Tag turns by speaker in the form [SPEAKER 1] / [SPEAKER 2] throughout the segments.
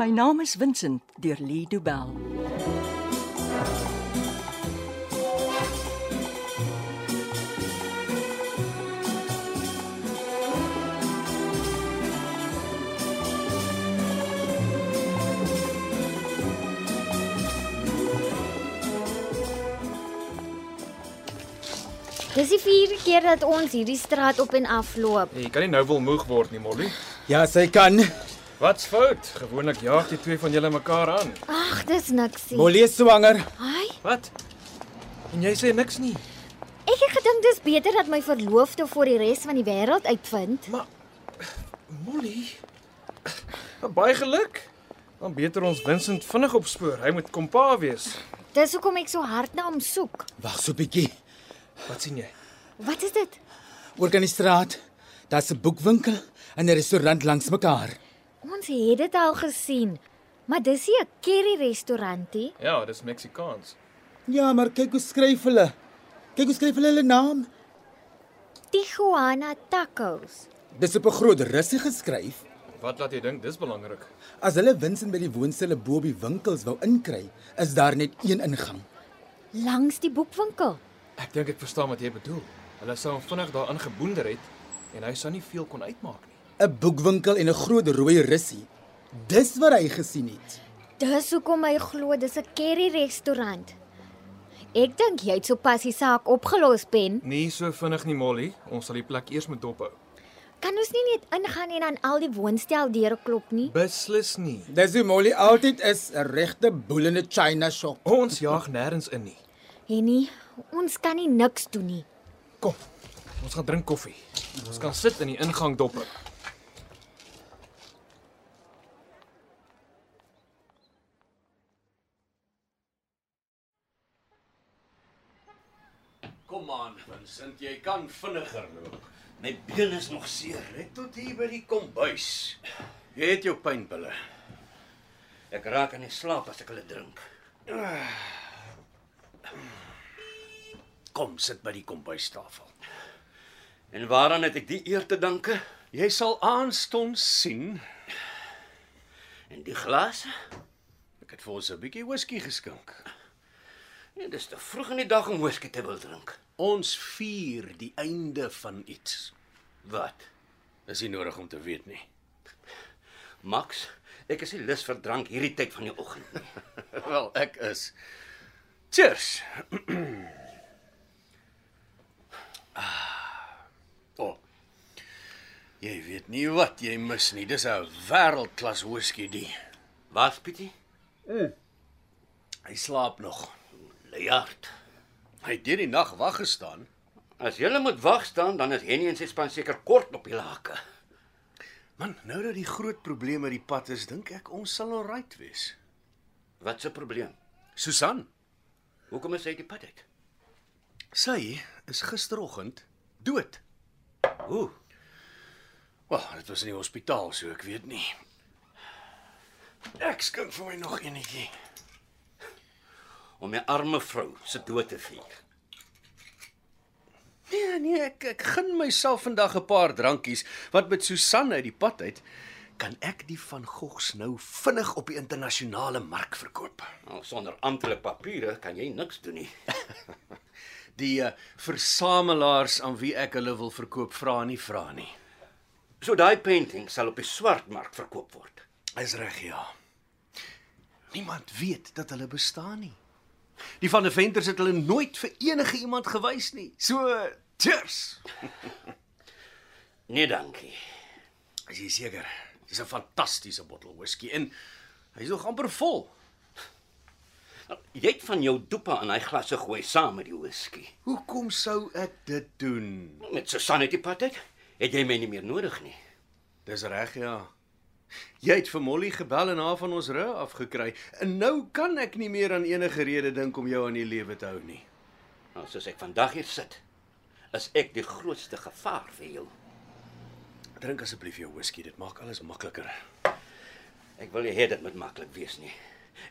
[SPEAKER 1] My naam is Vincent deur Lee Du Bell.
[SPEAKER 2] Dis die vierde keer dat ons hierdie straat op en af loop.
[SPEAKER 3] Jy kan nie nou wil moeg word nie, Molly.
[SPEAKER 4] Ja, sy kan.
[SPEAKER 3] Wat's fout? Gewoonlik jaag die twee van julle mekaar aan.
[SPEAKER 2] Ag, dis niks nie.
[SPEAKER 4] Molly is swanger.
[SPEAKER 2] Ai,
[SPEAKER 3] Wat? En jy sê niks nie.
[SPEAKER 2] ek het gedink dis beter dat my verloofde vir die res van die wêreld uitvind.
[SPEAKER 3] Maar Molly, baie geluk. Dan beter ons Vincent vinnig opspoor. Hy moet kompa wees.
[SPEAKER 2] Dis hoekom ek so hard na hom soek.
[SPEAKER 4] Wag so 'n bietjie.
[SPEAKER 3] Wat sien jy?
[SPEAKER 2] Wat is dit?
[SPEAKER 4] Oor kan die straat. Daar's 'n boekwinkel en 'n restaurant langs mekaar.
[SPEAKER 2] Ons het dit al gesien. Maar dis nie 'n curry restaurantie.
[SPEAKER 3] Ja, dis Meksikaans.
[SPEAKER 4] Ja, maar kyk hoe skryf hulle. Kyk hoe skryf hulle hulle naam.
[SPEAKER 2] Tijuana Tacos.
[SPEAKER 4] Dis op 'n groot russie geskryf.
[SPEAKER 3] Wat laat jy dink dis belangrik?
[SPEAKER 4] As hulle Winsin by die woonstelle bo op die winkels wou inkry, is daar net een ingang.
[SPEAKER 2] Langs die boekwinkel.
[SPEAKER 3] Ek dink ek verstaan wat jy bedoel. Hulle sou hom vinnig daarin geboonder het en hy sou nie veel kon uitmaak nie.
[SPEAKER 4] 'n Boekwinkel en 'n groot rooi russie. Dis wat hy gesien het.
[SPEAKER 2] Dis hoekom hy glo dis 'n curry restaurant. Ek dink jy het sopas die saak opgelos, Ben.
[SPEAKER 3] Nie so vinnig nie, Molly. Ons sal die plek eers moet dophou.
[SPEAKER 2] Kan ons nie net ingaan en aan al die woonsteldeure klop nie?
[SPEAKER 3] Beslis nie.
[SPEAKER 4] Dis hoe Molly altyd is, 'n regte boelende China shop.
[SPEAKER 3] Ons jaag nêrens in nie.
[SPEAKER 2] Henny, nee, ons kan nie niks doen nie.
[SPEAKER 3] Kom. Ons gaan drink koffie. Ons kan sit in die ingang dophou.
[SPEAKER 5] Kom aan, Vincent, jy kan vinniger loop. My been is nog seer, net tot hier by die kombuis. Jy het jou pynpille. Ek raak aan die slaap as ek hulle drink. Kom, sit by die kombuistafel. En waaraan het ek die eer te danke? Jy sal aanstonds sien. En die glas? Ek het vir ons 'n bietjie whisky geskink. Nee, dis te vroeg in die dag om whisky te wil drink. Ons vier die einde van iets. Wat? Dis nie nodig om te weet nie. Max, ek is nie lus vir drank hierdie tyd van die oggend nie. Wel, ek is. Cheers. ah. Oh. Jy weet nie wat jy mis nie. Dis 'n wêreldklas whisky die. Wat, Pietie? Hy slaap nog. Lejaard. Hy het deur die nag wag gestaan. As jy moet wag staan, dan is Henny en sy span seker kort op die lake. Man, nou dat die groot probleem uit die pad is, dink ek ons sal alright wees. Wat 'n probleem? Susan. Hoekom is sy die pad uit? Sy is gisteroggend dood. Hoe? Wel, dit was in die hospitaal, so ek weet nie. Ek skink vir my nog enetjie om my arme vrou se dood te vier. Nee, nee, ek ek gun myself vandag 'n paar drankies wat met Susan uit die pad uit kan ek die van Gogs nou vinnig op die internasionale mark verkoop. Nou, sonder amptelike papiere kan jy niks doen nie. die uh, versamelaars aan wie ek hulle wil verkoop vra nie vra nie. So daai painting sal op die swartmark verkoop word. Is reg, ja. Niemand weet dat hulle bestaan nie. Die van die venters het hulle nooit vir enige iemand gewys nie. So, cheers. nee, dankie. As jy seker, dis 'n fantastiese bottel whisky en hy's nog amper vol. Jy het van jou doepa in hy glasse gooi saam met die whisky. Hoekom sou ek dit doen? Met Susan uit die pad uit, het jy my nie meer nodig nie. Dis reg, ja. Jy het vir Molly gebel en haar van ons rou afgekry. En nou kan ek nie meer aan enige rede dink om jou aan die lewe te hou nie. Nou soos ek vandag hier sit, is ek die grootste gevaar vir jou. Drink asseblief jou whisky, dit maak alles makliker. Ek wil nie hê dit moet maklik wees nie.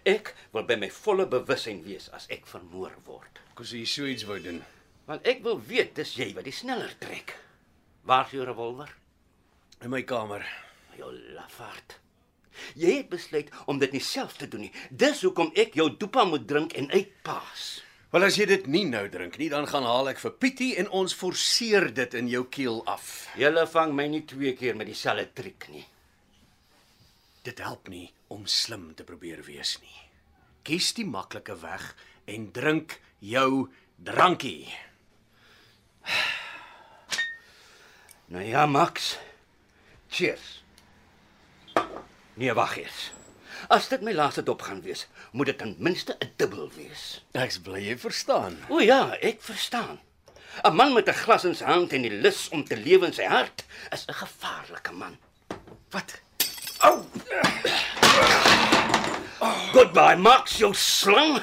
[SPEAKER 5] Ek wil by my volle bewussyn wees as ek vermoor word. Kus jy so iets wou doen? Want ek wil weet dis jy wat die sneller trek. Waar is jou revolver? In my kamer. Jou lafaard.
[SPEAKER 6] Jy het besluit om dit nie self te doen nie. Dis hoekom ek jou dopa moet drink en uitpaas.
[SPEAKER 5] Wel as jy dit nie nou drink nie, dan gaan haal ek vir Pietie en ons forceer dit in jou keel af.
[SPEAKER 6] Julle vang my nie twee keer met dieselfde triek nie.
[SPEAKER 5] Dit help nie om slim te probeer wees nie. Kies die maklike weg en drink jou drankie.
[SPEAKER 6] Nou ja, Max. Cheers. Nee, wag eers. As dit my laaste dop gaan wees, moet dit ten minste 'n dubbel wees.
[SPEAKER 5] Ek's bly jy verstaan.
[SPEAKER 6] O ja, ek verstaan. 'n Man met 'n glas in sy hand en die lus om te lewe in sy hart is 'n gevaarlike man.
[SPEAKER 5] Wat?
[SPEAKER 6] Au. Oh. Goodbye, Max, jou slang.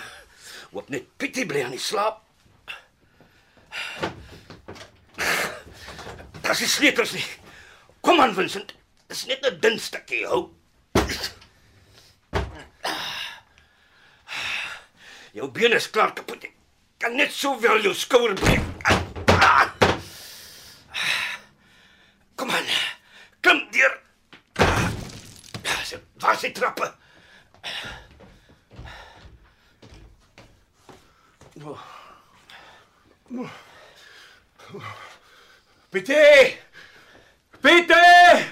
[SPEAKER 6] Wat net pity bly aan die slaap. Das is sleutels nie. Kom aan, Vincent. Dis net 'n dun stukkie hout. Jou been is klaar kapot. Ek Kan net sowel jou skouer breek. Kom aan. Klim deur. Dis- Waar is die trappe?
[SPEAKER 5] Pietie! Pietie!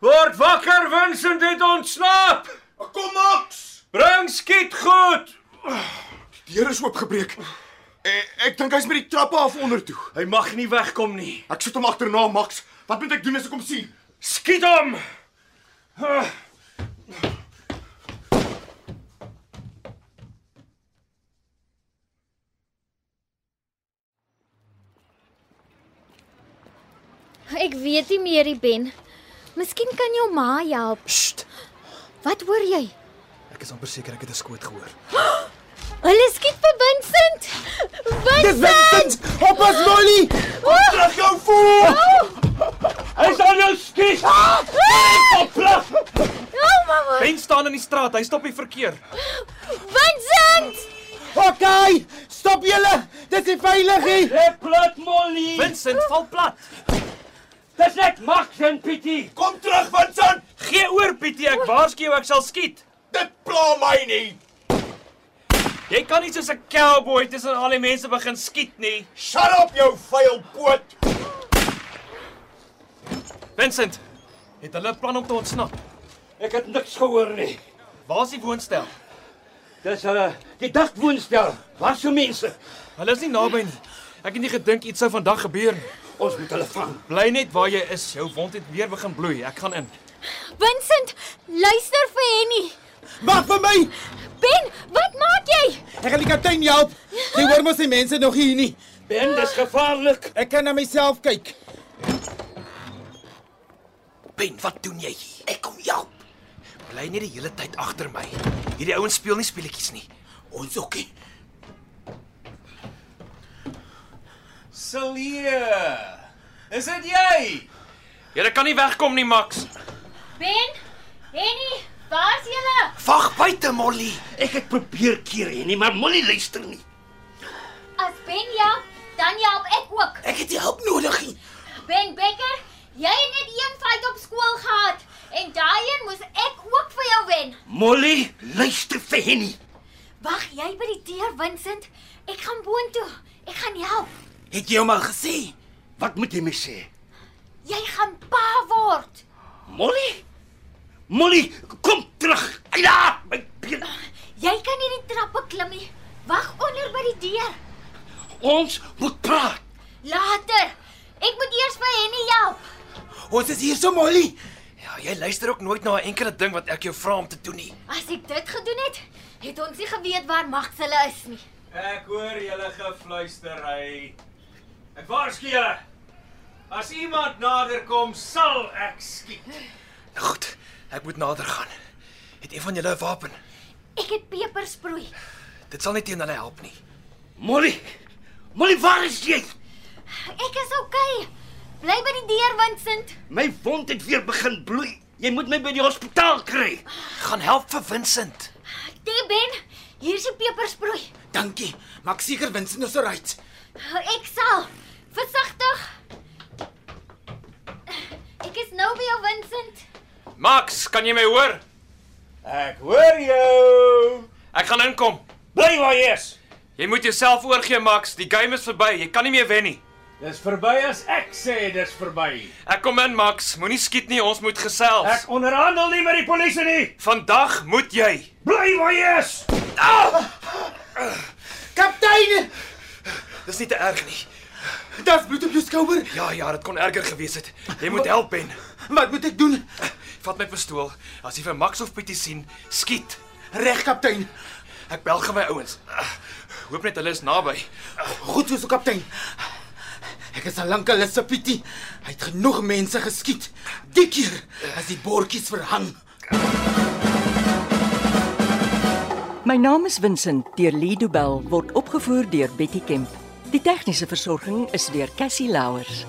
[SPEAKER 5] Word wakker, Vincent het ontsnap.
[SPEAKER 7] Kom Max.
[SPEAKER 5] Bring skiet goed.
[SPEAKER 7] Die deur is oopgebreek. Ek, ek dink hy's met die trappe af onder toe.
[SPEAKER 5] Hy mag nie wegkom nie.
[SPEAKER 7] Ek soek hom agterna, Max. Wat moet ek doen as ek hom sien?
[SPEAKER 5] Skiet hom.
[SPEAKER 2] Ek weet nie meer, die Ben. Miskien kan jou ma jou help.
[SPEAKER 4] Sst.
[SPEAKER 2] Wat hoor jy?
[SPEAKER 4] Ek is amper seker ek het 'n skoot gehoor.
[SPEAKER 2] Hulle skiet vir Vincent.
[SPEAKER 4] Dis
[SPEAKER 2] Vincent.
[SPEAKER 4] Vincent. Hop as Molly.
[SPEAKER 7] Terug jou voor.
[SPEAKER 6] Hy sal jou skiet.
[SPEAKER 2] Oh, mamma.
[SPEAKER 3] Ben staan in die straat, hy stop die verkeer.
[SPEAKER 2] Vincent!
[SPEAKER 4] Okay. Stop julle. Dis nie veilig nie.
[SPEAKER 6] Hy plat Molly.
[SPEAKER 3] Vincent val plat.
[SPEAKER 6] Dis net Max en Pietie.
[SPEAKER 7] Kom terug, Vincent.
[SPEAKER 3] Gee oor, Pietie, ek waarsku jou, ek sal skiet.
[SPEAKER 7] Dit pla my nie.
[SPEAKER 3] Jy kan nie soos 'n cowboy tussen al die mense begin skiet nie.
[SPEAKER 7] Shut up jou vuil poot.
[SPEAKER 3] Vincent, het hulle 'n plan om te ontsnap?
[SPEAKER 6] Ek het niks gehoor nie.
[SPEAKER 3] Waar is die woonstel?
[SPEAKER 6] Dis hulle uh, die dagwoonstel. Waar sou mense?
[SPEAKER 3] Hulle is nie naby nie. Ek het nie gedink iets sou vandag gebeur nie.
[SPEAKER 6] Ons moet hulle vang.
[SPEAKER 3] Bly net waar jy is. Jou wond het weer begin bloei. Ek gaan in.
[SPEAKER 2] Vincent, luister vir Henny.
[SPEAKER 4] Wag vir my.
[SPEAKER 2] Ben, wat maak jy?
[SPEAKER 4] Ek gaan die kaptein help. Jy hoor mos die mense nog hier nie.
[SPEAKER 6] Ben, dis gevaarlik.
[SPEAKER 4] Ek kan na myself kyk.
[SPEAKER 3] Ben, wat doen jy hier? Ek kom jou. Bly net die hele tyd agter my. Hierdie ouens speel nie speletjies nie. Ons ook nie.
[SPEAKER 5] Celie. Is dit jy?
[SPEAKER 3] Julle kan nie wegkom nie, Max.
[SPEAKER 2] Ben, Henny, waar's julle?
[SPEAKER 6] Wag buite, Molly. Ek het probeer keer hier nie, maar Molly luister nie.
[SPEAKER 2] As Ben help, dan help ek ook.
[SPEAKER 6] Ek het die hulp nodig. nie.
[SPEAKER 2] Ben Becker, jy het net een fight op skool gehad en daai een moes ek ook vir jou wen.
[SPEAKER 6] Molly, luister vir Henny.
[SPEAKER 2] Wag, jy by die deur, Vincent. Ek gaan boontoe. Ek gaan help.
[SPEAKER 6] Het jy hom al gesê? Wat moet jy my sê?
[SPEAKER 2] Jy gaan pa word.
[SPEAKER 6] Molly? Molly, kom terug. Ai daar, my been.
[SPEAKER 2] Jy kan nie die trappe klim nie. Wag onder by die deur.
[SPEAKER 6] Ons moet praat.
[SPEAKER 2] Later. Ek moet eers vir Henny help.
[SPEAKER 4] Ons is hier so Molly.
[SPEAKER 3] Ja, jy luister ook nooit na 'n enkele ding wat ek jou vra om te doen nie.
[SPEAKER 2] As ek dit gedoen het, het ons nie geweet waar Max hulle is nie.
[SPEAKER 3] Ek hoor julle gefluistery. Ek waarsku julle. As iemand nader kom, sal ek skiet. Nou goed, ek moet nader gaan. Het een van julle 'n wapen?
[SPEAKER 2] Ek het pepersproei.
[SPEAKER 3] Dit sal nie teen hulle help nie.
[SPEAKER 6] Molly. Molly, waar is jy?
[SPEAKER 2] Ek is oukei. Okay. Bly by die deur, Vincent.
[SPEAKER 6] My wond het weer begin bloei. Jy moet my by die hospitaal kry.
[SPEAKER 3] Gaan help vir Vincent.
[SPEAKER 2] Tee Ben, hier's die pepersproei.
[SPEAKER 4] Dankie. Maak seker Vincent is alright.
[SPEAKER 2] Ek sal. Versigtig. Ek is nou by jou, Vincent.
[SPEAKER 3] Max, kan jy my hoor?
[SPEAKER 5] Ek hoor jou.
[SPEAKER 3] Ek gaan inkom.
[SPEAKER 5] Bly waar jy is.
[SPEAKER 3] Jy moet jouself oorgee, Max. Die game is verby. Jy kan nie meer wen nie.
[SPEAKER 5] Dis verby as ek sê dis verby.
[SPEAKER 3] Ek kom in, Max. Moenie skiet nie. Ons moet gesels.
[SPEAKER 5] Ek onderhandel nie met die polisie nie.
[SPEAKER 3] Vandag moet jy.
[SPEAKER 5] Bly waar jy is.
[SPEAKER 4] Kaptein,
[SPEAKER 3] Dis nie te erg nie.
[SPEAKER 4] daar's bloed op jou skouer.
[SPEAKER 3] Ja, ja, dit kon erger gewees het. Jy moet help, Ben.
[SPEAKER 4] Wat moet ek doen?
[SPEAKER 3] Vat my pistool. As jy vir Max of Pietie sien, skiet.
[SPEAKER 4] Reg, kaptein.
[SPEAKER 3] Ek bel gou my ouens. Hoop net hulle is naby.
[SPEAKER 4] Goed so, so kaptein. Ek is al lank al se pietie. Hy het genoeg mense geskiet. Die keer as die bordjies verhang.
[SPEAKER 1] My naam is Vincent deur Lee Du Bell word opgevoer deur Betty Kemp. Die tegniese versorging is deur Cassie Louers.